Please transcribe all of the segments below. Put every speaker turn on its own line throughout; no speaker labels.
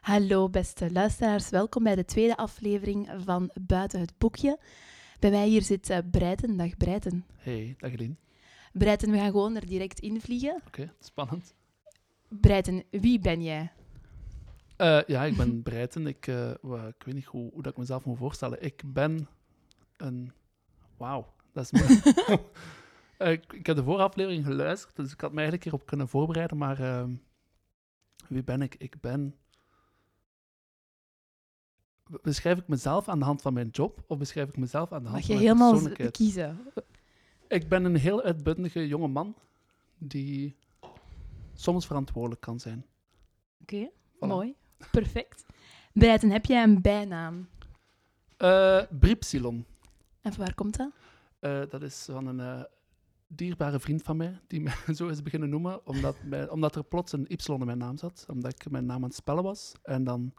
Hallo beste luisteraars, welkom bij de tweede aflevering van Buiten het Boekje. Bij mij hier zit eh, Breiten. Dag Breiten.
Hey, dag Lien.
Breiten, we gaan gewoon er direct in vliegen.
Oké, spannend.
Breiten, wie ben jij?
Eh, ja, ik ben Breiten. Ik, eh, wa- ik weet niet hoe, hoe dat ik mezelf moet voorstellen. Ik ben een... Wauw, dat is moeilijk. Eh, ik, ik heb de vorige aflevering geluisterd, dus ik had me eigenlijk hierop kunnen voorbereiden, maar ehm, wie ben ik? Ik ben... B- Beschrijf ik mezelf aan de hand van mijn job of beschrijf ik mezelf aan de hand
Mag je
van mijn
helemaal z-
persoonlijkheid?
kiezen?
Ik ben een heel uitbundige jonge man die soms verantwoordelijk kan zijn.
Oké,
Voilà.
mooi. Perfect. Breiten, heb jij een bijnaam?
Eh Briepsilon.
En van waar komt dat?
Eh, dat is van een eh, dierbare vriend van mij, die mij zo is beginnen noemen, omdat, mij- omdat er plots een Y in mijn naam zat, omdat ik mijn naam aan het spellen was. En dan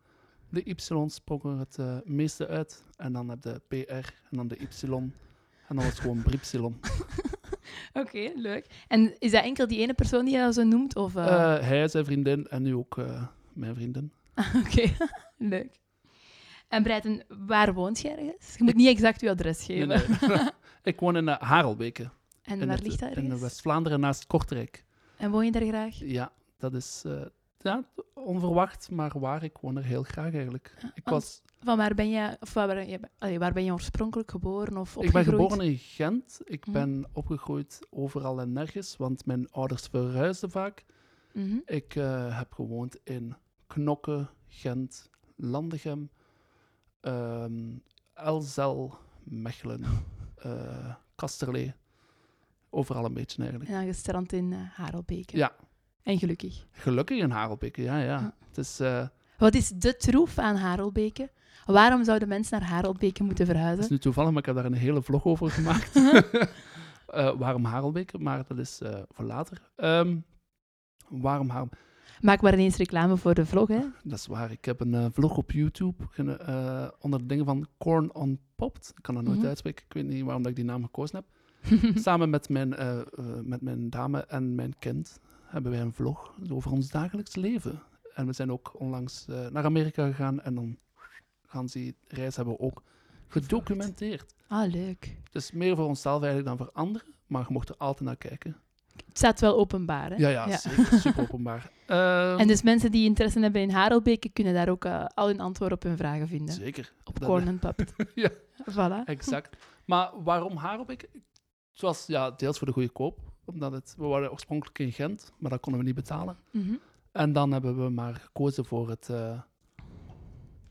de Y sprong er het eh, meeste uit. En dan heb je de PR en dan de Y. En dan was het gewoon Briepsilon.
Oké, leuk. En is dat enkel die ene persoon die je zo noemt? Of, eh?
Eh, hij, zijn vriendin en nu ook eh, mijn vriendin.
Ah, Oké, leuk. En Breiten, waar woont jij ergens? Je moet niet exact je adres
Nee,
geven.
nee. ik woon in eh, Harelbeke.
En
in
waar
het-
ligt dat
In eh,
ergens?
West-Vlaanderen naast Kortrijk.
En woon je daar graag?
Ja, dat is eh, ja, onverwacht, maar waar. Ik woon er heel graag eigenlijk. Ik,
want
was,
Van waar ben je, of waar ben je, allee, waar ben je oorspronkelijk geboren of
ik ben
opgegroeid?
geboren in Gent. Ik
Mhm.
ben opgegroeid overal en nergens, want mijn ouders verhuisden vaak.
Mhm.
Ik eh, heb gewoond in Knokke, Gent, Landegem, ehm, Elzel, Mechelen, eh Kasterlee. Overal een beetje eigenlijk.
En dan gestrand in eh, Harelbeke.
Ja.
En gelukkig.
Gelukkig in Harelbeke, ja, ja.
Ja.
Het is... eh,
Wat is de troef aan Harelbeke? Waarom zouden mensen naar Harelbeke moeten
Dat
verhuizen?
is nu toevallig, maar ik heb daar een hele vlog over gemaakt. Eh, waarom Harelbeke? Maar dat is eh, voor later. Ehm, waarom Harel?
Maak maar ineens reclame voor de vlog, hè.
Dat is waar. Ik heb een eh, vlog op YouTube gene- eh, onder de dingen van Corn on Popped. Ik kan dat nooit
Mhm.
uitspreken. Ik weet niet waarom dat ik die naam gekozen heb. Samen met mijn, eh, eh, met mijn dame en mijn kind hebben wij een vlog over ons dagelijks leven. En we zijn ook onlangs eh, naar Amerika gegaan en dan gaan ze die reis hebben we ook gedocumenteerd.
Ah, leuk.
Het is meer voor onszelf eigenlijk dan voor anderen, maar je mocht er altijd naar kijken.
Het staat wel openbaar, hè.
Ja, ja, zeker. Super openbaar. Ehm,
En dus mensen die interesse hebben in Harelbeke kunnen daar ook eh, al hun antwoorden op hun vragen vinden.
Zeker,
Op
dat-
Corn and Puppet.
Ja.
Voilà.
exact. Maar waarom Harelbeke? Het was ja, deels voor de goede koop, omdat het, we waren oorspronkelijk in Gent, maar dat konden we niet betalen.
Mhm.
En dan hebben we maar gekozen voor het eh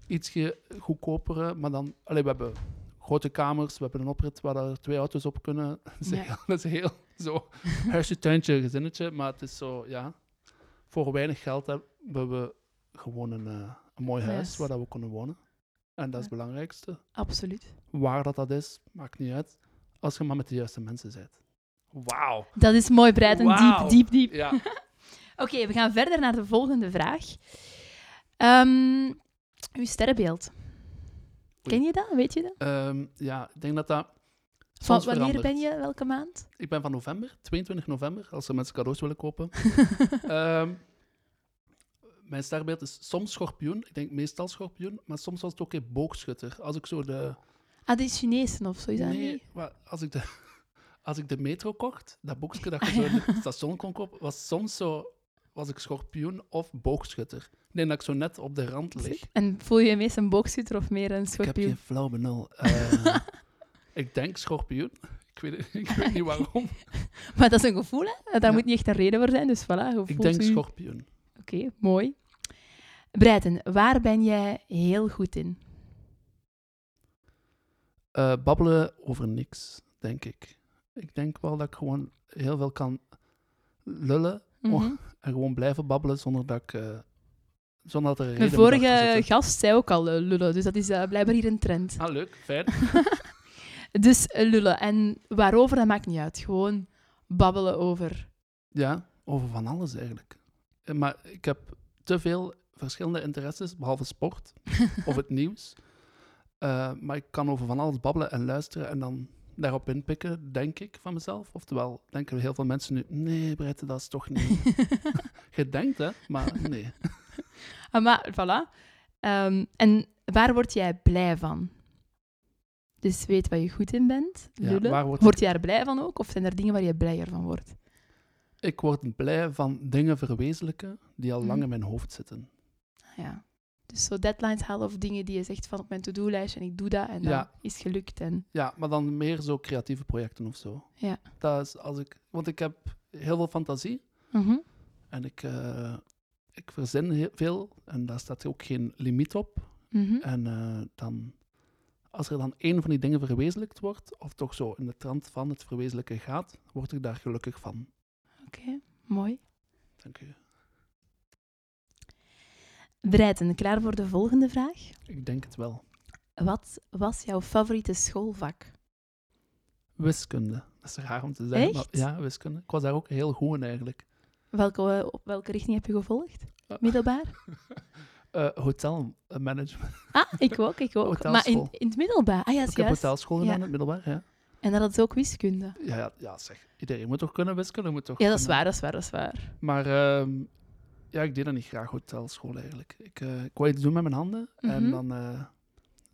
ietsje goedkopere, maar dan... Allee, we hebben grote kamers, we hebben een oprit waar er twee auto's op kunnen. Dat is,
Ja.
heel, dat is heel zo huisje, tuintje, gezinnetje. Maar het is zo, ja... Voor weinig geld hebben we gewoon een, eh, een mooi huis
Yes.
waar dat we kunnen wonen. En dat is het belangrijkste.
Absoluut.
Waar dat, dat is, maakt niet uit. Als je maar met de juiste mensen bent. Wauw.
Dat is mooi, Breit. En
Wauw.
diep, diep, diep.
Ja.
Oké, we gaan verder naar de volgende vraag. Ehm uw sterrenbeeld. Ken je dat? Weet je dat?
Ehm, ja, ik denk dat dat...
Van
soms
wanneer
verandert.
ben je? Welke maand?
Ik ben van november, 22 november, als er mensen cadeaus willen kopen. Ehm, mijn sterbeeld is soms schorpioen. Ik denk meestal schorpioen, maar soms was het ook een boogschutter. Als ik zo de...
ah, die is Chinezen of zo, is dat niet?
maar als ik de, als ik de metro kocht, dat boekje dat je
Ah,
zo
ja.
in het station kon kopen, was soms zo... Was ik schorpioen of boogschutter? Ik denk dat ik zo net op de rand lig.
En voel je je meest een boogschutter of meer een
Ik heb
schorpioen?
geen flauw benul. Eh, ik denk schorpioen. Ik weet, het- ik weet niet waarom.
Maar dat is een gevoel, hè? Daar
Ja.
moet niet echt een reden voor zijn, dus voilà. je
Ik
voelt
denk
u-
schorpioen.
Oké, mooi. Breiten, waar ben jij heel goed in?
Eh, babbelen over niks, denk ik. Ik denk wel dat ik gewoon heel veel kan lullen
Mhm.
Oh, en gewoon blijven babbelen zonder dat ik. eh, zonder dat er een
Mijn
reden moet
vorige
achter zitten.
gast zei ook al eh, lullen, dus dat is eh, blijkbaar hier een trend.
Ah, leuk, fijn.
Dus eh, lullen. En waarover, dat maakt niet uit. Gewoon babbelen over.
Ja, over van alles eigenlijk. Eh, Maar ik heb te veel verschillende interesses, behalve sport of het nieuws. Eh, maar ik kan over van alles babbelen en luisteren en dan daarop inpikken, denk ik van mezelf. Oftewel, denken heel veel mensen nu: nee, Brette, dat is toch niet. Je denkt, hè? Maar nee.
Ah, maar voilà. Ehm, en waar word jij blij van? Dus weet waar je goed in bent.
Ja,
lullen.
waar word-
word je daar blij van ook? Of zijn er dingen waar je blijer van wordt?
Ik word blij van dingen verwezenlijken die al lang
Mhm.
in mijn hoofd zitten.
Ja. Dus zo deadlines halen of dingen die je zegt van op mijn to-do-lijst en ik doe dat en dan
Ja.
is het gelukt. En...
Ja, maar dan meer zo creatieve projecten of zo.
Ja.
Dat is als ik, want ik heb heel veel fantasie
Mhm.
en ik, eh, ik verzin heel veel en daar staat ook geen limiet op.
Mhm.
En eh, dan, als er dan één van die dingen verwezenlijkt wordt, of toch zo in de trant van het verwezenlijken gaat, word ik daar gelukkig van.
Oké, mooi.
Dank u.
Breiten, klaar voor de volgende vraag?
Ik denk het wel.
Wat was jouw favoriete schoolvak?
Wiskunde. Dat is raar om te zeggen.
Echt?
Maar, ja, wiskunde. Ik was daar ook heel goed in eigenlijk.
Welke, eh, op welke richting heb je gevolgd?
Eh.
Middelbaar?
Eh, hotelmanagement.
Ah, ik ook, ik ook. Maar in,
Hotelschool.
in het middelbaar? Ah ja,
Ik heb
juist.
hotelschool
Ja.
gedaan in het middelbaar. Ja.
En dat is ook wiskunde.
Ja, ja, ja, zeg. Iedereen moet toch kunnen wiskunde? Moet toch
Ja, dat is
kunnen.
waar, dat is waar, dat is waar.
Maar ehm, ja, ik deed dat niet graag, hotelschool eigenlijk. Ik, eh ik wou iets doen met mijn handen.
Mhm.
En dan eh,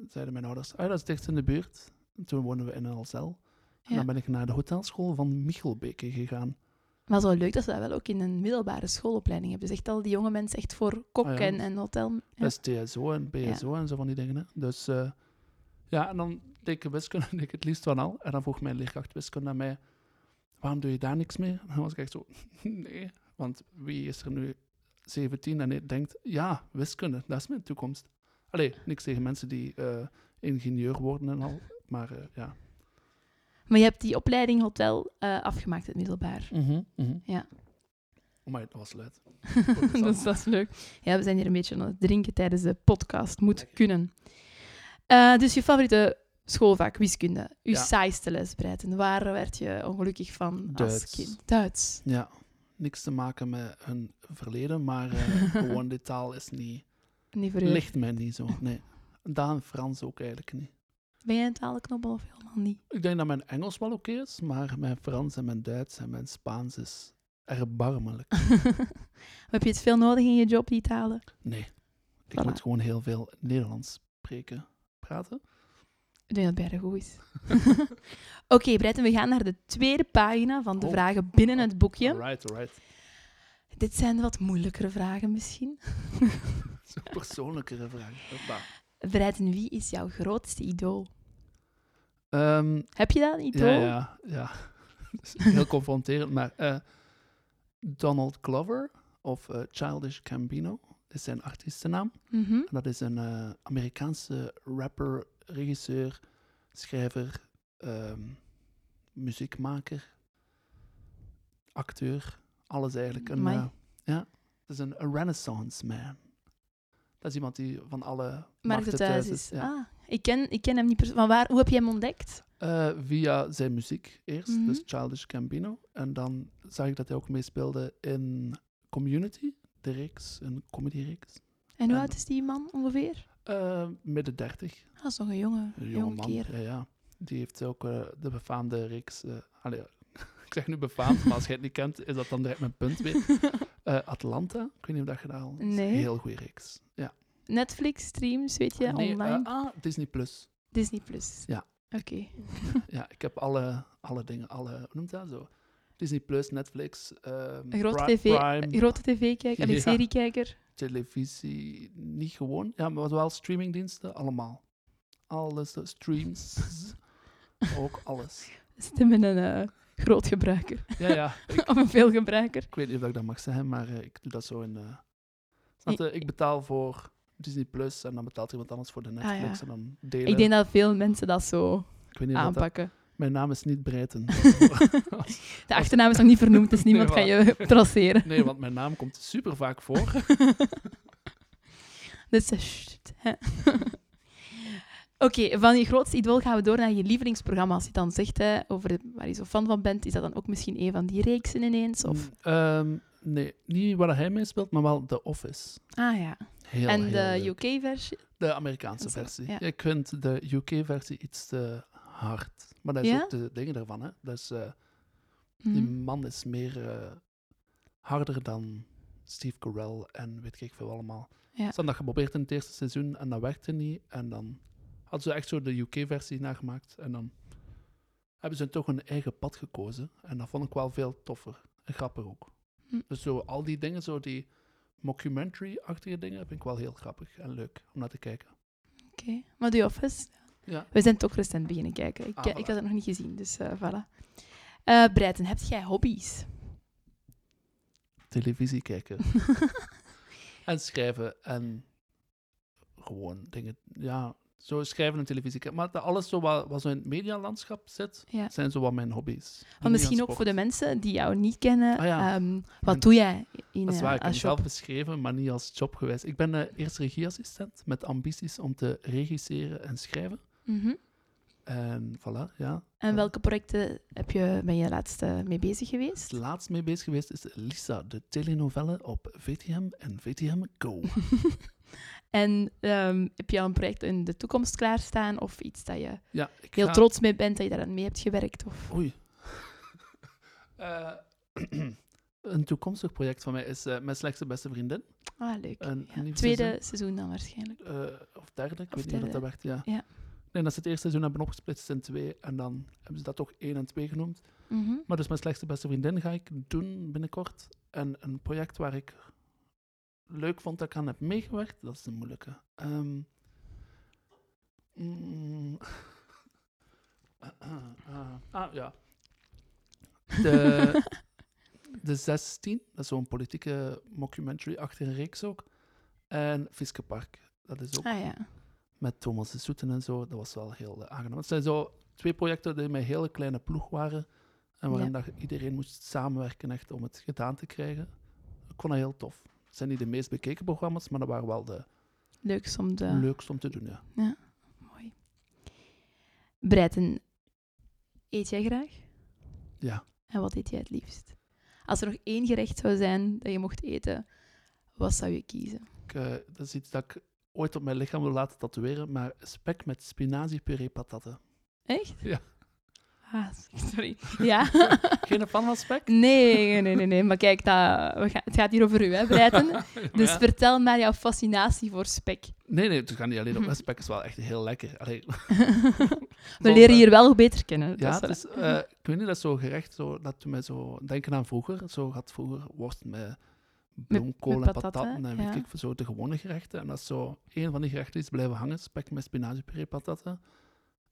zeiden mijn ouders, ah, dat is dicht in de buurt. En toen woonden we in een Alzel. En
Ja.
dan ben ik naar de hotelschool van Michelbeke gegaan.
Maar zo leuk dat ze dat wel ook in een middelbare schoolopleiding hebben. Dus echt al die jonge mensen echt voor kok
Ah ja.
en, en hotel. Ja.
Dat is TSO en BSO en zo van die dingen. Hè. Dus eh, ja, en dan deed ik wiskunde deed ik het liefst van al. En dan vroeg mijn leerkracht wiskunde aan mij, waarom doe je daar niks mee? En dan was ik echt zo, nee. Want wie is er nu 17 en die denkt, ja, wiskunde, dat is mijn toekomst. Allee, niks tegen mensen die eh, ingenieur worden en al. Maar eh, ja.
Maar je hebt die opleiding hotel eh, afgemaakt in het middelbaar. Ja.
Maar dat was luid.
dus dat is leuk. Ja, we zijn hier een beetje aan het drinken tijdens de podcast. Moet kunnen. Eh, dus je favoriete schoolvak, wiskunde. Je
Ja.
saaiste les, Breiten. Waar werd je ongelukkig van als
Duits.
kind? Duits.
Ja, niks te maken met hun verleden, maar eh, gewoon de taal is niet...
Niet voor jou.
Ligt mij niet zo, nee. Daar en Frans ook eigenlijk niet.
Ben jij een talenknobbel of helemaal niet?
Ik denk dat mijn Engels wel oké is, maar mijn Frans en mijn Duits en mijn Spaans is erbarmelijk.
heb je het veel nodig in je job, die talen?
Nee, ik
Voilà.
moet gewoon heel veel Nederlands spreken, praten.
Ik denk dat het bijna goed is. Oké, Breiten, we gaan naar de tweede pagina van de
Oh.
vragen binnen het boekje.
Alright, alright.
Dit zijn wat moeilijkere vragen misschien.
Zo'n persoonlijkere vraag. Hoppa.
Breiten, wie is jouw grootste idool?
Ehm,
Heb je dat, een idool?
ja, ja, ja. Dat is heel confronterend, maar eh, Donald Glover of eh, Childish Gambino is zijn artiestennaam.
Mhm.
En Dat is een eh, Amerikaanse rapper, regisseur, schrijver, ehm, muziekmaker, acteur, alles eigenlijk. Een,
Amai.
eh, ja, het is een, een renaissance man. Dat is iemand die van alle
Mark de
markten thuis
Thuis is.
ja.
Ah, ik ken, ik ken hem niet persoonlijk. Van waar? Hoe heb je hem ontdekt?
Eh, via zijn muziek eerst,
Mhm.
dus Childish Gambino. En dan zag ik dat hij ook meespeelde in Community, de reeks, een comedy-reeks.
En hoe
Ehm.
oud is die man ongeveer?
Eh, midden dertig.
Ah, Dat is nog een jonge,
Een
jonge
jonge man,
keer.
ja, ja. Die heeft ook eh, de befaamde reeks... eh, allee, ik zeg nu befaamd, maar als je het niet kent, is dat dan direct mijn punt weer. Eh, Atlanta, ik weet niet of dat je dat al... dat is een
Nee.
Heel goede reeks, ja.
Netflix, streams, weet je,
Nee, eh,
online.
ah, Disney Plus.
Disney+. Plus.
Ja.
Oké.
Ja, ik heb alle, alle dingen, alle... Hoe noemt dat zo? Disney Plus, Netflix, ehm,
Een grote eh,
Pri-
tv
Prime,
Een Grote tv-kijker, allee,
Ja.
seriekijker.
televisie, niet gewoon. Ja, maar wel streamingdiensten, allemaal. Alles, eh, streams, ook alles.
Stemmen een eh, groot gebruiker.
Ja, ja, ik-
of een veelgebruiker.
Ik weet niet of ik dat mag zeggen, maar eh, ik doe dat zo in. eh snap je? Ik betaal voor Disney Plus en dan betaalt iemand anders voor de Netflix
Ah, ja.
en dan delen.
Ik denk dat veel mensen dat zo
Ik weet niet of dat-
aanpakken.
Mijn naam is niet Breiten.
De achternaam is nog niet vernoemd, dus niemand
Nee,
kan je traceren.
nee, want mijn naam komt super vaak voor.
Dus eh, sst, hè. Oké, van je grootste idool gaan we door naar je lievelingsprogramma. Als je het dan zegt hè, over de- waar je zo fan van bent, is dat dan ook misschien een van die reeksen ineens? Of...
Mm, ehm, nee, niet waar hij mee speelt, maar wel The Office.
Ah ja.
Heel,
en
heel
de
leuk.
UK-versie?
De Amerikaanse
Dat is-
versie.
ja.
Ik vind de UK-versie iets te hard. Maar dat is
Ja?
ook de dingen ervan. Hè. Dus eh,
Mhm.
Die man is meer eh, harder dan Steve Carell en weet ik veel allemaal.
Ja.
Ze hadden dat geprobeerd in het eerste seizoen en dat werkte niet. En dan hadden ze echt zo de UK-versie nagemaakt. En dan hebben ze toch hun eigen pad gekozen. En dat vond ik wel veel toffer en grappig ook.
Hm.
Dus zo al die dingen, zo die mockumentary-achtige dingen, vind ik wel heel grappig en leuk om naar te kijken.
Oké. Maar The Office,
Ja.
we zijn het ook recent beginnen kijken. Ik,
Ah,
eh,
voilà.
ik had het nog niet gezien, dus eh voilà. Eh Breiten, heb jij hobby's?
Televisie kijken en schrijven en gewoon dingen. Ja, zo schrijven en televisie kijken. Maar dat alles zo wat, wat zo in het medialandschap zit,
Ja.
zijn zo wat mijn hobby's.
Want misschien ook voor de mensen die jou niet kennen.
Ah, ja.
ehm,
Mijn-
wat doe jij in
Dat is
eh,
waar, ik heb
als job?
mezelf beschreven, maar niet als job geweest. Ik ben eh, eerst regieassistent met ambities om te regisseren en schrijven.
Mhm.
En voilà, ja.
En
Ja.
welke projecten heb je, ben je laatst eh, mee bezig geweest?
Het laatst mee bezig geweest is Lisa, de telenovelle op VTM en VTM Go.
En ehm, heb je al een project in de toekomst klaarstaan? Of iets dat je
Ja, ik
heel
ga-
trots mee bent dat je daar aan mee hebt gewerkt? Of...
Oei. Eh, een toekomstig project van mij is eh, Mijn Slechtste Beste Vriendin.
Ah, leuk.
Een
Ja.
nieuw
Tweede
seizoen.
seizoen. dan waarschijnlijk.
Eh, of derde,
Of
ik weet niet hoe
derde.
dat werkt. Ja.
Ja.
Nee, dat ze het eerste seizoen hebben opgesplitst in twee. En dan hebben ze dat toch één en twee genoemd.
Mhm.
Maar dus Mijn Slechtste Beste Vriendin ga ik doen binnenkort. En een project waar ik leuk vond dat ik aan heb meegewerkt, dat is de moeilijke. Ehm, mm, ah, ah, ah, ah, ja. De, de 16, dat is zo'n politieke mockumentary-achtige reeks ook. En Fiske Park, dat is ook
Ah ja.
met Thomas de Soeten en zo. Dat was wel heel eh, aangenaam. Het zijn zo twee projecten die met een hele kleine ploeg waren. En waarin dat iedereen moest samenwerken echt om het gedaan te krijgen. Ik vond dat heel tof. Het zijn niet de meest bekeken programma's, maar dat waren wel de
Leuk om de...
leukste om te doen. Ja.
Mooi. Breiten, eet jij graag?
ja.
En wat eet jij het liefst? Als er nog één gerecht zou zijn dat je mocht eten, wat zou je kiezen?
Ik, eh, dat is iets dat ik ooit op mijn lichaam wil laten tatoeëren, maar spek met spinaziepuree patatten.
Echt?
Ja.
Ah, sorry. Ja?
Geen fan van spek?
Nee, nee, nee, nee. Maar kijk, dat, we gaan- het gaat hier over u, hè, Breiten. Dus
Ja.
vertel maar jouw fascinatie voor spek.
Nee, nee, het gaat niet alleen op. Spek is wel echt heel lekker. Allee,
We
Bon,
leren
eh,
hier wel beter kennen. dat
Ja,
is wel-
het is, eh, ik weet niet, dat is zo'n gerecht zo, dat doet mij zo denken aan vroeger. Zo had vroeger worst met bloemkool
met
en
patatten,
patatten en weet
ja.
ik, veel, zo de gewone gerechten. En dat is zo één van die gerechten is blijven hangen, spek met spinaziepuree patatten.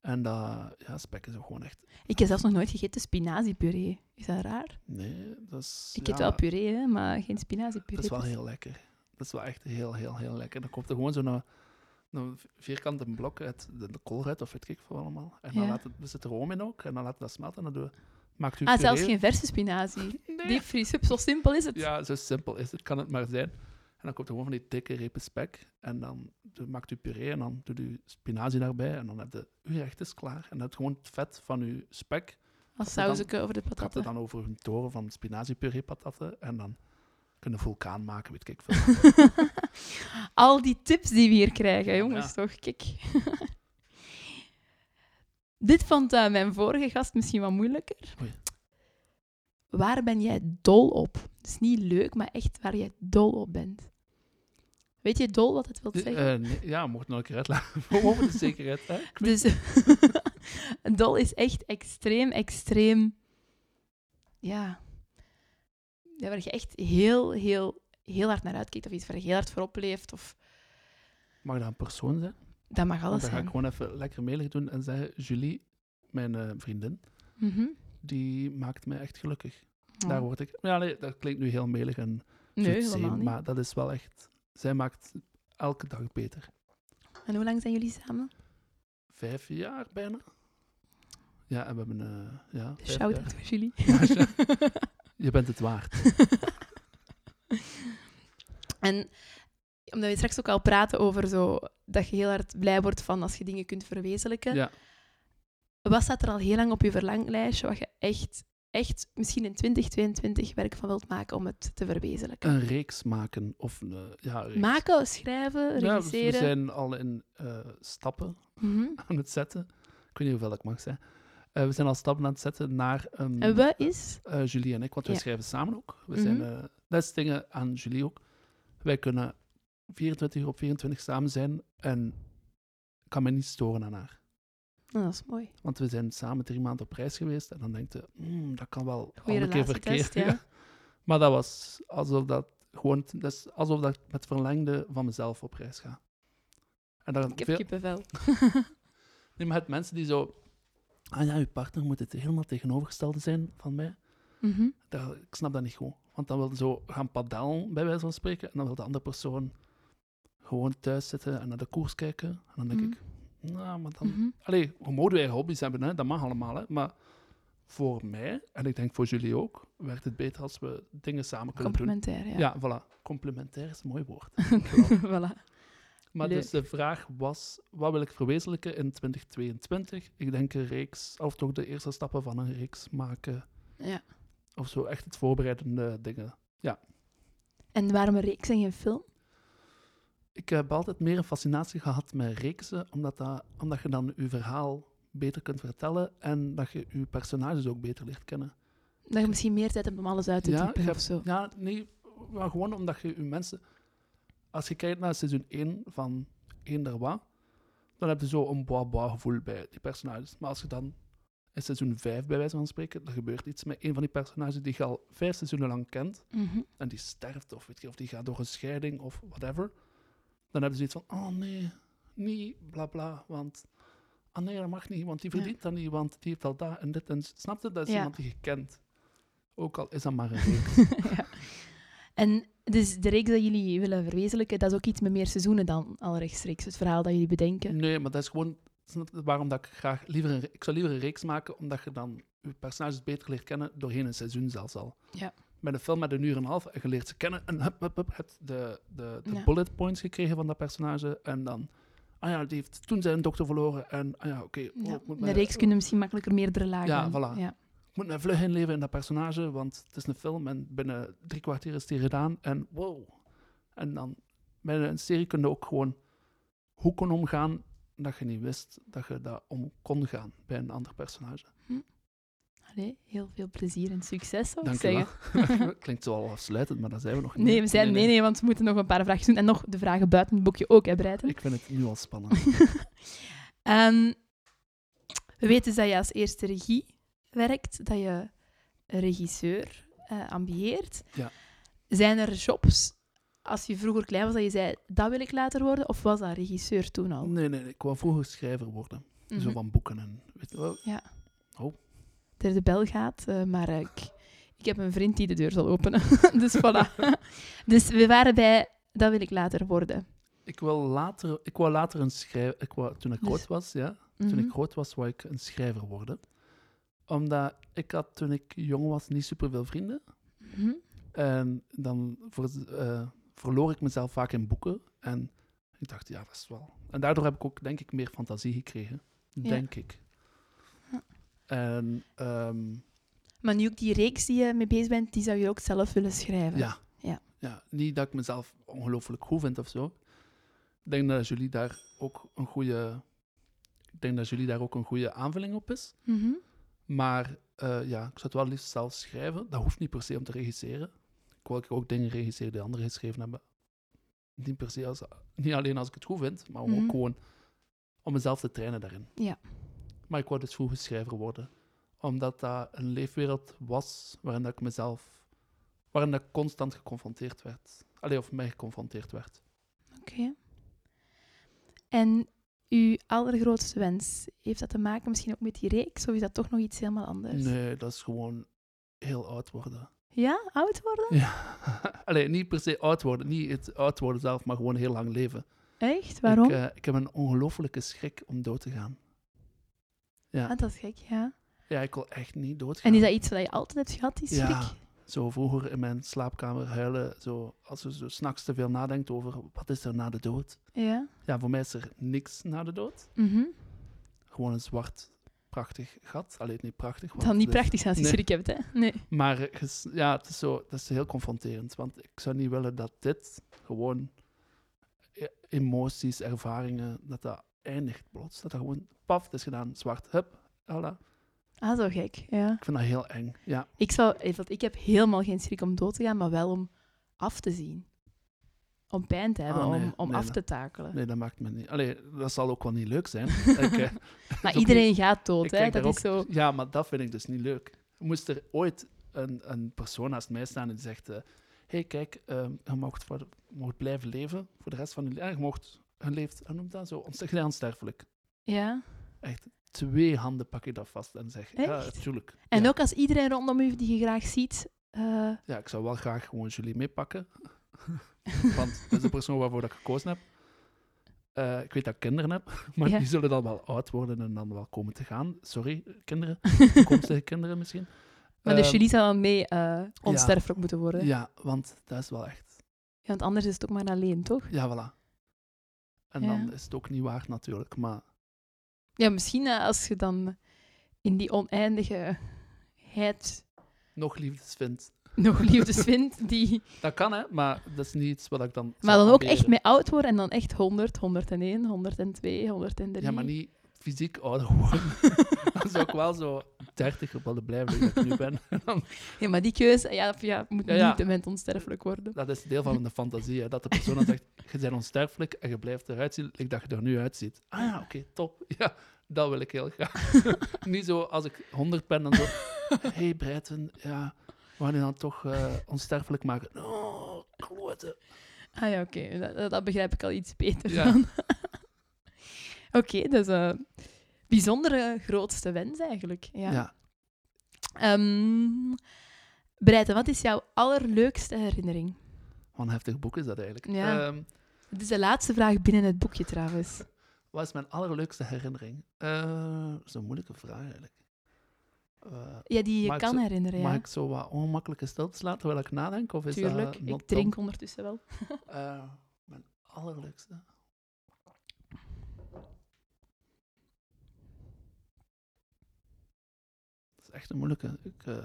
En dat, ja, spek is ook gewoon echt,
Ik heb zelfs nog nooit gegeten spinaziepuree. Is dat raar?
nee, dat is...
Ik
ja,
eet wel puree, hè, maar geen spinaziepuree.
Dat is wel heel lekker. Dat is wel echt heel, heel, heel lekker. Dan komt er gewoon zo'n een vierkante blok uit de, de kool uit, of weet ik veel allemaal. En dan
Ja.
laat het, er zit room in ook, en dan laat dat smelten en dan doe, maakt u
Ah, zelfs
puree.
geen verse spinazie.
Nee.
Diepvries, hup, zo simpel is het.
Ja, zo simpel is het, kan het maar zijn. En dan komt er gewoon van die dikke repen spek. En dan doe- maakt u puree en dan doet u spinazie daarbij. En dan heb je uw gerecht is klaar. En dat is gewoon het vet van uw spek.
Als
dan-
sausje over de
Gaat er
patatten.
dan over een toren van spinaziepuree patatten. En dan kunnen vulkaan maken, weet ik veel.
Al die tips die we hier krijgen, jongens,
Ja.
toch? Kijk. Dit vond eh, mijn vorige gast misschien wat moeilijker.
Oei.
Waar ben jij dol op? Dus niet leuk, maar echt waar jij dol op bent. Weet je dol wat het wil
De-
zeggen?
eh, nee, ja, mocht nog een keer uitleggen. Voor over de zekerheid. Hè?
Dus dol is echt extreem, extreem. Ja. ja. Waar je echt heel, heel, heel hard naar uitkijkt. Of iets waar je heel hard voor opleeft. Of,
Mag dat een persoon zijn?
dat mag
Want
alles
dan ga ik
zijn.
gewoon even lekker mailig doen en zeggen... Julie, mijn eh, vriendin,
Mhm.
die maakt mij echt gelukkig.
Ja.
Daar word ik... Ja, nee, dat klinkt nu heel melig en
Nee,
zoet
helemaal
zijn,
niet.
Maar dat is wel echt... Zij maakt elke dag beter.
En hoe lang zijn jullie samen?
Vijf jaar bijna. Ja, en we hebben... eh ja, vijf
Shout-out
jaar.
voor jullie.
Ja, Je bent het waard.
en omdat we straks ook al praten over zo, dat je heel hard blij wordt van als je dingen kunt verwezenlijken.
Ja.
Wat staat er al heel lang op je verlanglijstje wat je echt, echt misschien in 2022 werk van wilt maken om het te verwezenlijken?
Een reeks maken. Of een, eh, ja, een reeks.
Maken, schrijven,
Ja, Mm. dus we
regisseren.
zijn al in eh, stappen
Mhm.
aan het zetten. Ik weet niet hoeveel ik mag zeggen. Eh, we zijn al stappen aan het zetten naar... een
En we is...
eh, Julie en ik, want wij
Ja.
schrijven samen ook. We
Mhm.
zijn, eh, dat is dingen aan Julie ook. Wij kunnen 24 uur op 24 samen zijn en ik kan me niet storen aan haar.
Nou, dat is mooi.
Want we zijn samen drie maanden op reis geweest en dan denk je, "Hmm, dat kan wel al
Goeie
een keer
relatietest,
verkeerd. gaan." Maar dat was alsof dat gewoon, dat is alsof dat ik met verlengde van mezelf op reis ga. En dan
Ik heb
veel,
kippenvel.
nee, maar het mensen die zo, ah ja, uw partner moet het helemaal tegenovergestelde zijn van mij.
Mhm.
Dat, ik snap dat niet goed. Want dan wil je zo gaan padellen, bij wijze van spreken, en dan wil de andere persoon gewoon thuis zitten en naar de koers kijken. En dan denk
Mhm.
ik, nou, maar dan...
Mhm.
Allee, we mogen eigen hobby's hebben, hè? dat mag allemaal. Hè? Maar voor mij, en ik denk voor jullie ook, werkt het beter als we dingen samen kunnen
Complementair, ja.
doen. Ja, voilà. Complementair is een mooi woord.
voilà.
Maar
Leuk.
dus de vraag was, wat wil ik verwezenlijken in 2022? Ik denk een reeks, of toch de eerste stappen van een reeks maken.
Ja.
Of zo, echt het voorbereidende dingen.
En waarom een reeks en geen film?
Ik heb altijd meer een fascinatie gehad met reeksen, omdat, dat, omdat je dan je verhaal beter kunt vertellen en dat je je personages ook beter leert kennen.
Dat je misschien meer tijd hebt om alles uit te
Ja,
diepen
je
of zo.
Ja, nee, maar gewoon omdat je je mensen... Als je kijkt naar seizoen 1 van Eén der Wa, dan heb je zo een bois-bois gevoel bij die personages. Maar als je dan in seizoen 5 bij wijze van spreken, dan gebeurt iets met een van die personages die je al vijf seizoenen lang kent,
Mhm.
en die sterft, of, weet je, of die gaat door een scheiding, of whatever, dan hebben ze iets van, oh nee, niet, bla bla, want... Ah nee, dat mag niet, want die
Ja.
verdient dat niet, want die heeft al dat en dit. En, snap je? Dat is
Ja.
iemand die je kent. Ook al is dat maar een reeks.
ja. En dus de reeks dat jullie willen verwezenlijken, dat is ook iets met meer seizoenen dan al rechtstreeks. Het verhaal dat jullie bedenken.
Nee, maar dat is gewoon snap je, waarom dat ik graag liever een, re- ik zou liever een reeks maken, omdat je dan je personages beter leert kennen doorheen een seizoen zelfs al.
Ja.
Met een film met een uur en een half en je leert ze kennen en hup, hup, hup, hebt de, de, de
Ja.
bullet points gekregen van dat personage en dan, ah ja, die heeft toen zijn dokter verloren en, ah ja, oké. oh,
Ja.
ik moet
In de
mij-
reeks kunnen misschien makkelijker meerdere lagen.
Ja,
aan.
voilà.
Ja.
ik moet mij vlug inleven in dat personage, want het is een film en binnen drie kwartier is die gedaan. En wow. En dan bij een serie kun je ook gewoon hoeken omgaan dat je niet wist dat je daar om kon gaan bij een ander personage.
Oh, Allee, heel veel plezier en succes, zou
Dank
ik
je
zeggen.
wel. Klinkt zo al afsluitend, maar dat zijn we nog niet.
Nee, we zijn, nee, nee, want we moeten nog een paar vragen doen. En nog de vragen buiten het boekje ook, hè, Breiten.
Ik vind het nu al spannend.
Ehm, we weten dus dat je als eerste regie werkt, dat je een regisseur eh ambieert.
Ja.
Zijn er jobs, als je vroeger klein was, dat je zei, dat wil ik later worden? Of was dat regisseur toen al?
Nee, nee, ik wou vroeger schrijver worden. Mm, Zo
Mhm.
van boeken en weet je wel.
Ja.
Oh.
Er de bel gaat, eh, maar eh, ik, ik heb een vriend die de deur zal openen. dus voilà. dus we waren bij, dat wil ik later worden.
Ik wil later, ik wou later een schrijver... Ik wou, toen ik
Dus-
groot was, ja. Toen
Mhm.
ik groot was, wou ik een schrijver worden. Omdat ik had toen ik jong was niet superveel vrienden.
Mhm. Mhm.
En dan ver- eh, verloor ik mezelf vaak in boeken. En ik dacht, ja, dat is wel... En daardoor heb ik ook, denk ik, meer fantasie gekregen.
Ja.
Denk ik.
Ja.
En ehm,
Maar nu ook die reeks die je mee bezig bent, die zou je ook zelf willen schrijven.
ja.
Ja.
Niet dat ik mezelf ongelooflijk goed vind of zo. Ik denk dat jullie daar ook een goede... Ik denk dat jullie daar ook een goede aanvulling op is.
Mhm.
Maar eh, ja, ik zou het wel liefst zelf schrijven. Dat hoeft niet per se om te regisseren. Ik wil ook dingen regisseren die anderen geschreven hebben. Niet per se als, niet alleen als ik het goed vind, maar
Mhm.
ook gewoon om mezelf te trainen daarin.
Ja.
Maar ik wou dus vroeger schrijver worden. Omdat dat een leefwereld was waarin dat ik mezelf... Waarin dat ik constant geconfronteerd werd. Allee, of mij geconfronteerd werd.
Oké. En uw allergrootste wens, heeft dat te maken misschien ook met die reeks? Of is dat toch nog iets helemaal anders?
Nee, dat is gewoon heel oud worden.
Ja, oud worden?
Ja. Allee, niet per se oud worden. Niet het oud worden zelf, maar gewoon heel lang leven.
Echt? Waarom?
Ik, eh, ik heb een ongelofelijke schrik om dood te gaan. Ja.
ah, dat is gek, ja.
eh, Ja, ik wil echt niet doodgaan.
En is dat iets wat je altijd hebt gehad, die schrik?
Ja. Zo vroeger in mijn slaapkamer huilen, zo, als je zo s'nachts te veel nadenkt over wat is er na de dood.
Ja.
Ja, voor mij is er niks na de dood.
Mhm.
Gewoon een zwart, prachtig gat. Alleen niet prachtig. want
Het zal niet
het is-
prachtig zijn als je
Nee.
schrik hebt, hè? Nee.
Maar eh, ges- ja, het is, zo, dat is heel confronterend. Want ik zou niet willen dat dit gewoon e- emoties, ervaringen, dat dat eindigt plots. Dat dat gewoon paf, het is gedaan, zwart, hup, voilà.
Ah, zo gek, ja.
Ik vind dat heel eng. Ja,
Ik, zou, eh, want ik heb helemaal geen schrik om dood te gaan, maar wel om af te zien. om pijn te hebben,
Ah, nee,
om, om
nee,
af
nee.
te takelen.
Nee, dat maakt me niet. Allee, dat zal ook wel niet leuk zijn. Ik, eh,
Maar
ook
iedereen gaat dood,
Ik
hè?
kijk
Dat
daar
is zo.
Ja, maar dat vind ik dus niet leuk. Moest er ooit een, een persoon naast mij staan die zegt... eh, hey, kijk, ehm, je mocht, voor de- je mocht blijven leven voor de rest van je leven. Je mocht... Je leeft... Hoe noemt dat zo? Onst- gedaan sterfelijk.
Ja.
Twee handen pak ik dat vast en zeg... Ja,
Echt?
tuurlijk.
En
ja.
ook als iedereen rondom u die je graag ziet. eh,
ja, ik zou wel graag gewoon Julie meepakken. Want dat is de persoon waarvoor dat ik gekozen heb. Eh, ik weet dat ik kinderen heb, maar
Ja.
die zullen dan wel oud worden en dan wel komen te gaan. Sorry, kinderen. Toekomstige kinderen misschien.
maar de
Ehm,
Julie zou dan mee eh, onsterfelijk moeten worden. Ja.
Ja, want dat is wel echt.
Want anders is het ook maar alleen, toch?
Ja, voilà. En
Ja.
dan is het ook niet waar natuurlijk, maar
Ja, misschien eh, als je dan in die oneindigheid
nog liefdes vindt.
nog liefdes vindt. Die...
Dat kan hè, maar dat is niet iets wat ik dan.
Maar dan
zou
ook
aanberen.
echt mee oud worden en dan echt 100, 101, 102, 103.
Ja, maar niet fysiek ouder worden. dan zou ik wel zo 30 willen blijven dat ik nu ben.
Ja, maar die keuze ja, ja, moet
Ja, ja.
niet met onsterfelijk worden.
Dat is deel van de fantasie, hè, dat de persoon dan zegt: Je bent onsterfelijk en je blijft eruit zien, ik dat je er nu uitziet. Ah ja, oké, top. Ja, dat wil ik heel graag. niet zo als ik 100 ben, dan zo. hey Breiten, ja, we gaan je dan toch eh, onsterfelijk maken. Oh, klote.
Ah ja, oké. Dat- Dat, dat begrijp ik al iets beter
Ja.
dan. oké, dus een bijzondere grootste wens eigenlijk. Ja.
Ja.
Ehm, Breiten, wat is jouw allerleukste herinnering?
Wat een heftig boek is dat eigenlijk.
Ja.
Ehm,
Het is de laatste vraag binnen het boekje trouwens.
wat is mijn allerleukste herinnering? Eh, dat is een moeilijke vraag eigenlijk. Eh,
Ja, die je
Mag ik
kan
ze-
herinneren, ja.
Mag ik zo wat ongemakkelijke stilte laten terwijl ik nadenk? Of is
Tuurlijk,
dat
ik
not
drink ondertussen wel.
done? Eh, mijn allerleukste. Dat is echt een moeilijke. Ik, eh,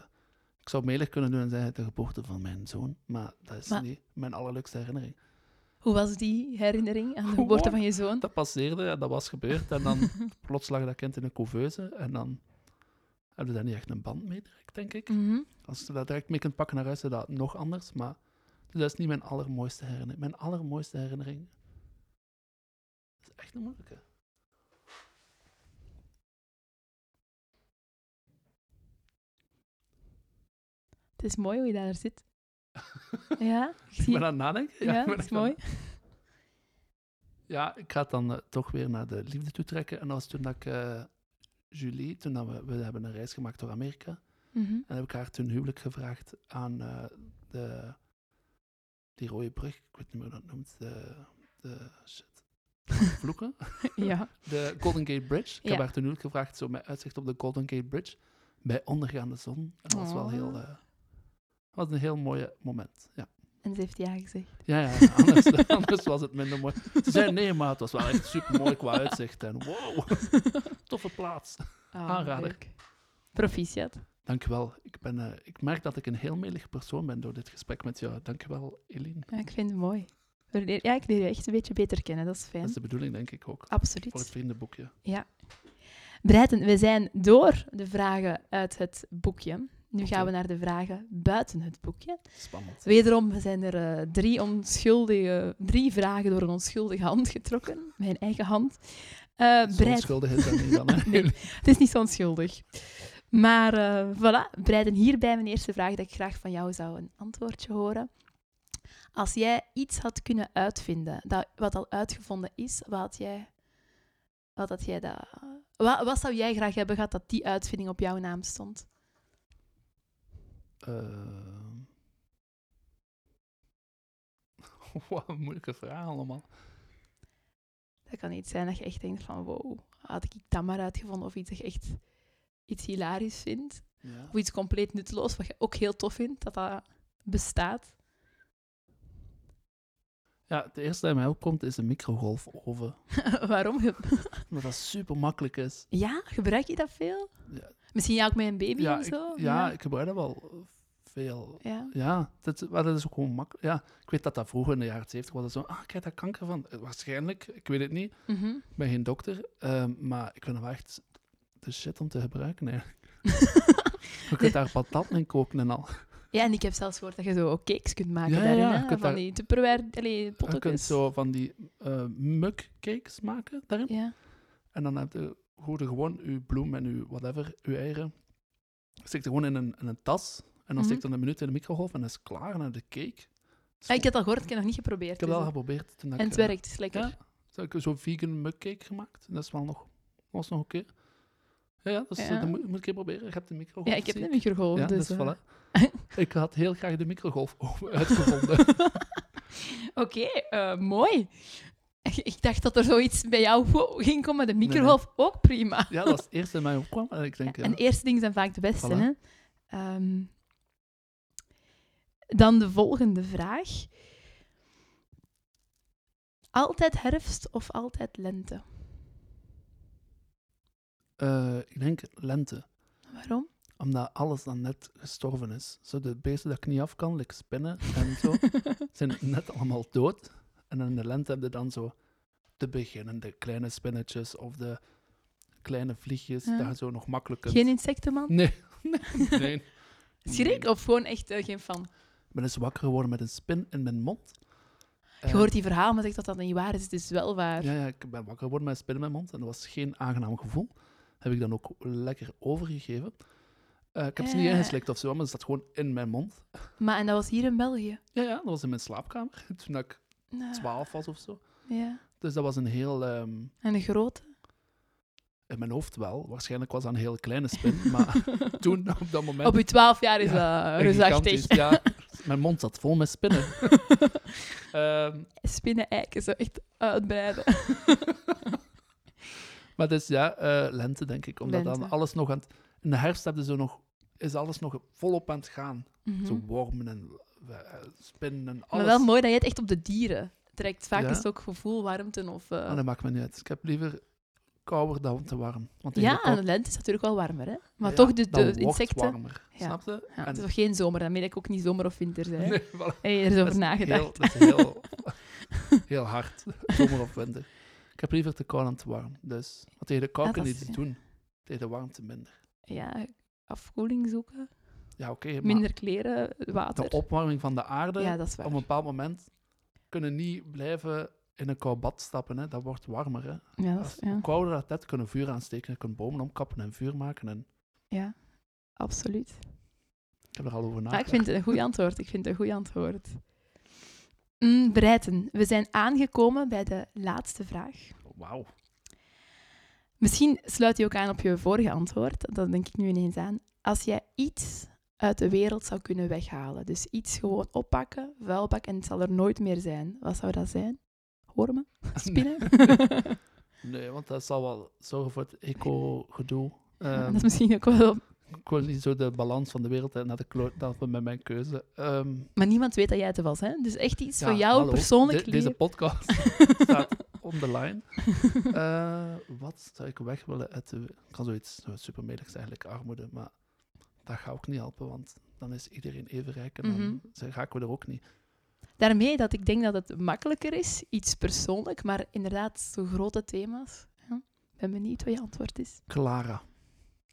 ik zou melig kunnen doen en zeggen de geboorte van mijn zoon, maar dat is
Maar-
niet mijn allerleukste herinnering.
Hoe was die herinnering aan de
Gewoon.
geboorte van je zoon?
Dat passeerde en dat was gebeurd en dan plots lag dat kind in een couveuse en dan hebben we daar niet echt een band mee direct, denk ik.
Mhm.
Als je dat direct mee kunt pakken naar huis, is dat nog anders, maar dus dat is niet mijn allermooiste herinnering. Mijn allermooiste herinnering dat is echt een moeilijke.
Het is mooi hoe je daar zit. Ja, ik
ik
zie.
ben aan het nadenken.
Ja,
ik
dat
ben
is
echt aan-
mooi.
Ja, ik ga het dan eh, toch weer naar de liefde toe trekken. En dat was toen dat ik eh, Julie, toen dat we, we hebben een reis gemaakt door Amerika,
Mhm.
En heb ik haar toen huwelijk gevraagd aan eh, de, die rode brug. Ik weet niet meer hoe dat noemt. De, de shit. Vloeken.
Ja.
De Golden Gate Bridge. Ik heb
Ja.
haar toen huwelijk gevraagd, zo met uitzicht op de Golden Gate Bridge. Bij ondergaande zon. En dat was wel heel...
Oh.
eh, was een heel mooi moment. Ja,
En ze heeft ja gezegd.
ja, ja anders, anders was het minder mooi. Ze zei nee, maar het was wel echt super mooi qua uitzicht. En wow, toffe plaats.
Ah,
Aanrader.
leuk. Proficiat.
Dankjewel. Ik, ben, eh, ik merk dat ik een heel melig persoon ben door dit gesprek met jou. Dankjewel, Eline.
Ja, ik vind het mooi. We leer- Ja, ik leer je echt een beetje beter kennen, dat is fijn.
Dat is de bedoeling, denk ik ook. Voor het
Absoluut.
vriendenboekje.
Breiten, we zijn door de vragen uit het boekje. Nu
Oké.
gaan we naar de vragen buiten het boekje.
Spannend.
Wederom zijn er eh, drie, onschuldige, drie vragen door een onschuldige hand getrokken. Mijn eigen hand. Eh
Zo
Breit-
onschuldig is dat niet dan. hè?
Nee. het is niet zo onschuldig. Maar eh voilà, breiden hierbij mijn eerste vraag dat ik graag van jou zou een antwoordje horen. Als jij iets had kunnen uitvinden, dat, wat al uitgevonden is, wat had jij... Wat, had jij dat, wat, wat zou jij graag hebben gehad dat die uitvinding op jouw naam stond?
Eh, Wat een moeilijke vraag allemaal.
Dat kan iets zijn dat je echt denkt van wow, had ik dat maar uitgevonden of iets dat je echt iets hilarisch vindt.
Ja.
Of iets compleet nutteloos, wat je ook heel tof vindt, dat dat bestaat.
ja, het eerste dat mij opkomt is een microgolfoven.
Waarom?
Omdat dat super makkelijk is.
Ja, gebruik je dat veel?
Ja.
Misschien ja ook met een baby
ja,
en zo?
Ik, ja,
ja.
ik gebruik dat wel eh, veel.
Ja.
Ja, dat, maar dat is ook gewoon makkelijk. Ja, ik weet dat dat vroeger in de jaren 70 was. dat Zo, ah, ik heb daar kanker van. Eh, Waarschijnlijk, ik weet het niet.
Mhm.
Ik ben geen dokter. ehm, maar ik vind het wel echt de shit om te gebruiken. Nee. Je kunt daar patat in koken en al.
Ja, en ik heb zelfs gehoord dat je zo ook cakes kunt maken
Ja, ja,
daarin.
ja,
hè,
je kunt
van
daar-
die tupperware, allee,
Je kunt
pottekens.
zo van die eh mugcakes maken daarin.
Ja.
En dan heb je, gooi je gewoon je bloem en je whatever, je eieren. Steek je gewoon in een, in een tas. En dan
Mhm.
steek je dan een minuut in de microgolf en dan is het klaar. En dan heb je de cake. Het is
Ah, ik
goed.
heb dat gehoord, ik heb het nog niet geprobeerd.
ik heb
dus
wel
dat-
geprobeerd. Toen dat
en
ik,
het
eh,
werkt, het is lekker.
Ja. Toen heb ik zo'n vegan mugcake gemaakt. En dat is wel nog, was nog oké. Ja, ja, dat, is, eh,
Ja.
dat moet, moet ik even proberen. Je hebt de microgolf.
Ja, ik heb
zie
een microgolf,
Ja,
dus...
dus
eh.
voilà. Ik had heel graag de microgolf over- uitgevonden.
Oké, eh, mooi. Ik dacht dat er zoiets bij jou ging komen, maar de microgolf ook prima.
ja, dat is het eerste dat mij opkwam. En ik denk, ja,
En eerste dingen zijn vaak de beste.
Voilà.
Hè? Ehm, dan de volgende vraag. Altijd herfst of altijd lente?
eh, ik denk lente.
Waarom?
Omdat alles dan net gestorven is. Zo de beesten dat ik niet af kan, like spinnen en zo, zijn net allemaal dood. En in de lente heb je dan zo de beginnende kleine spinnetjes of de kleine vliegjes,
Ja.
dat je zo nog makkelijk kunt...
Geen insectenman?
Nee, nee, nee.
Schrik of gewoon echt eh, geen fan?
Ik ben eens wakker geworden met een spin in mijn mond.
Je hoort die verhaal, maar zegt dat dat niet waar is. Het is wel waar.
Eh. Ja, ja, ik ben wakker geworden met een spin in mijn mond. En dat was geen aangenaam gevoel. Heb ik dan ook lekker overgegeven. Eh, ik heb ze niet
Eh.
ingeslikt of zo, maar ze zat gewoon in mijn mond.
Maar en dat was hier in België.
Ja, ja, dat was in mijn slaapkamer toen ik
Nou,
12 was of zo.
ja.
Dus dat was een heel, ehm,
En een grote.
in mijn hoofd wel, waarschijnlijk was dat een heel kleine spin. Maar toen, op dat moment,
Op je twaalf jaar is dat
een
reusachtig.
gigantisch, ja, mijn mond zat vol met spinnen. Ehm,
Spinnen, eiken, zo echt uitbreiden.
Maar dus ja, eh, lente denk ik. Omdat dan
Lente.
alles nog aan het... In de herfst hebben ze nog, is alles nog volop aan het gaan.
Mhm.
Zo wormen en eh, spinnen en alles.
Maar wel mooi dat je het echt op de dieren trekt. Vaak
Ja. Ah,
is het ook gevoel, warmte of... eh,
Maar dat maakt me niet uit. Ik heb liever kouder dan te warm. Want in
ja,
de kou-
en de lente is natuurlijk wel warmer, hè? Maar
ja,
toch de,
dan
de
wordt
insecten...
warmer,
Ja.
snap je?
Ja,
En-
het is toch geen zomer, dan meen ik ook niet zomer of winter. Hè?
Nee, voilà.
Heb je er zo
Dat
over
is
nagedacht?
Heel, dat is heel, heel hard, zomer of winter. Ik heb liever te koud dan te warm. Dus want tegen de kou
Ja,
kun je
dat is-
iets doen. Tegen de warmte minder.
Ja, afkoeling zoeken,
Ja, oké, maar
minder kleren, water.
de opwarming van de aarde...
Ja, dat is waar.
op een bepaald moment kunnen niet blijven in een koud bad stappen. Hè. Dat wordt warmer. Hè.
Ja, dat
Als,
is, ja.
Hoe kouder dat het kunnen vuur aansteken, kunnen bomen omkappen en vuur maken. En
ja, absoluut.
ik heb er al over
Maar ik
nagedacht.
vind het een goed antwoord. Ik vind het een goed antwoord. Mm, Breiten, we zijn aangekomen bij de laatste vraag.
Wauw.
Misschien sluit die ook aan op je vorige antwoord. Dat denk ik nu ineens aan. Als jij iets uit de wereld zou kunnen weghalen, dus iets gewoon oppakken, vuilbak en het zal er nooit meer zijn, wat zou dat zijn? Hoor me? Spinnen?
Nee, want dat zal wel zorgen voor het eco-gedoe.
dat
Ehm,
is misschien ook wel.
ik wil niet zo de balans van de wereld en naar de kloot dat we met mijn keuze. Ehm,
Maar niemand weet dat jij het er was, hè? Dus echt iets
ja,
voor jou
hallo,
persoonlijk.
de- deze
leven.
podcast staat on the line. Eh, wat zou ik weg willen uit de... Ik kan zoiets zo super meligs eigenlijk, armoede. Maar dat gaat ook niet helpen, want dan is iedereen even rijk en dan
Mhm.
zijn- raken we er ook niet.
Daarmee dat ik denk dat het makkelijker is, iets persoonlijk, maar inderdaad, zo grote thema's. Ja. Ik ben benieuwd wat je antwoord is.
Clara.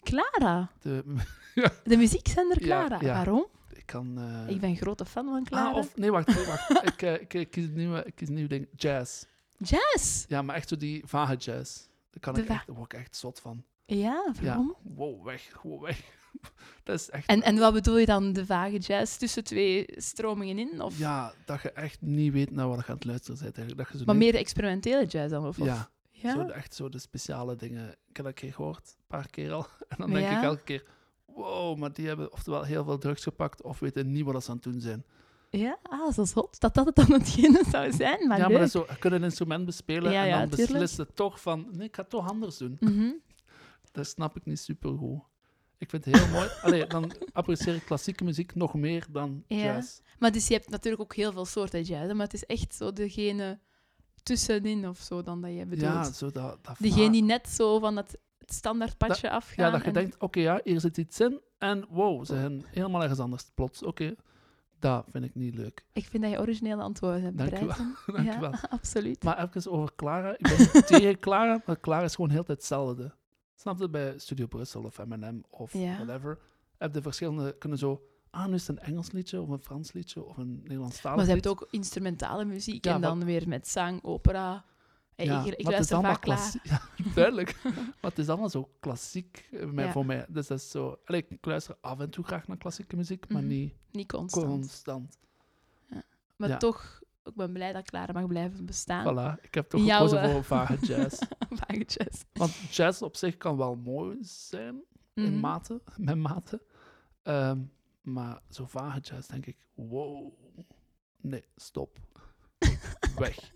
Clara,
De,
de muziekzender
Ja,
Clara.
ja.
Waarom?
ik kan... eh,
Ik ben grote fan van Clara.
Ah, of... Nee, wacht. nee, wacht. ik, eh, ik, ik kies een nieuwe, ik kies een nieuw ding. Jazz.
Jazz!
Ja, maar echt zo die vage jazz. Daar, kan
De
ik
va-
echt, daar word ik echt zot van.
Ja, waarom?
Ja. Wow, weg. Wow, weg. dat is echt...
En, en wat bedoel je dan, de vage jazz tussen twee stromingen in? Of,
Ja, dat je echt niet weet naar wat je aan het luisteren bent. Eigenlijk. Dat je zo
Maar
niet-
meer de experimentele jazz dan? Of, of-
Ja.
Ja?
Zo, de- echt zo de speciale dingen. Ik heb dat een keer gehoord, een paar keer al. En dan denk
Ja.
ik elke keer, wow, maar die hebben oftewel heel veel drugs gepakt of weten niet wat ze aan het doen zijn.
Ja? ah, dat is hot. Dat dat het dan hetgene zou zijn, maar
ja, maar
leuk.
dat is zo, je kunt een instrument bespelen
Ja,
en
ja,
dan
tuurlijk.
beslist je toch van, nee, ik ga het toch anders doen.
Mhm.
Dat snap ik niet super goed. Ik vind het heel mooi. Allee, dan apprecieer ik klassieke muziek nog meer dan
Ja.
jazz.
Maar dus je hebt natuurlijk ook heel veel soorten jazz, hè, maar het is echt zo degene tussenin of zo dan dat je
ja,
bedoelt.
zo dat, dat
Degene
vaak-
die net zo van dat het standaard padje afgaan.
Ja, dat je
en-
denkt, oké, ja, hier zit iets in. En wow, ze zijn helemaal ergens anders plots. Oké, dat vind ik niet leuk.
Ik vind dat je originele antwoorden hebt
Dank u wel.
bereid.
Dank je
ja,
wel.
absoluut.
Maar even over Clara. Ik ben tegen Clara, maar Clara is gewoon heel de tijd hetzelfde. Snap je? Bij Studio Brussel of M&M of
Ja.
whatever. Heb de verschillende kunnen zo... ah, nu is het een Engels liedje of een Frans liedje of een Nederlands taal.
Maar ze hebben ook instrumentale muziek
Ja,
en dan weer met zang, opera. Hey, ik- ik luister vaak klaar.
Ja, duidelijk. maar het is allemaal zo klassiek eh, mij-
Ja.
voor mij. Dus dat is zo... Allee, ik luister af en toe graag naar klassieke muziek, maar
Mhm.
niet
Niet constant.
constant.
Maar
ja.
toch, ik ben blij dat Clara mag blijven bestaan.
Voilà, ik heb toch
Jouw,
gekozen
eh,
voor vage jazz.
Vagetjes.
Want jazz op zich kan wel mooi zijn, in
Mhm.
mate, met mate. Ehm, maar zo vage jazz denk ik, wow. Nee, stop. Weg.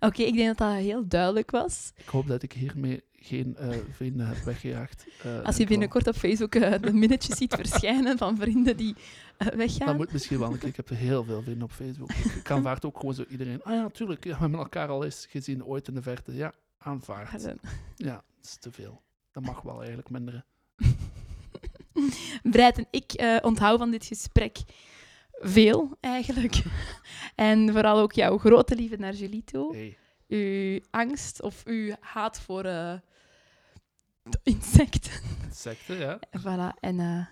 Oké, ik denk dat dat heel duidelijk was.
Ik hoop dat ik hiermee geen eh, vrienden heb weggejaagd. eh,
Als je
heb wel.
binnenkort op Facebook eh, de minnetjes ziet verschijnen van vrienden die eh, weggaan.
Dat moet misschien wel. want Ik heb heel veel vrienden op Facebook. Ik kan vaak ook gewoon zo iedereen. Ah ja, tuurlijk. Ja, we hebben elkaar al eens gezien ooit in de verte. Ja, aanvaard.
Pardon.
Ja, dat is te veel. Dat mag wel eigenlijk minderen.
Breiten, ik eh, onthoud van dit gesprek veel eigenlijk. en vooral ook jouw grote liefde naar Julie toe.
Hey.
Uw angst of uw haat voor eh, insecten.
Insecten, ja.
Voilà, en eh,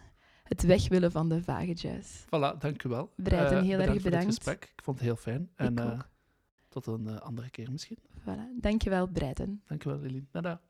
het weg willen van de vage jazz.
Voilà, dank u wel.
Breiten,
Eh,
heel erg
voor dit
bedankt.
gesprek. Ik vond het heel fijn. En
ik
eh,
ook.
tot een eh, andere keer misschien.
Voilà. Dankjewel, Breiten.
Dank u wel, Lili. Tada.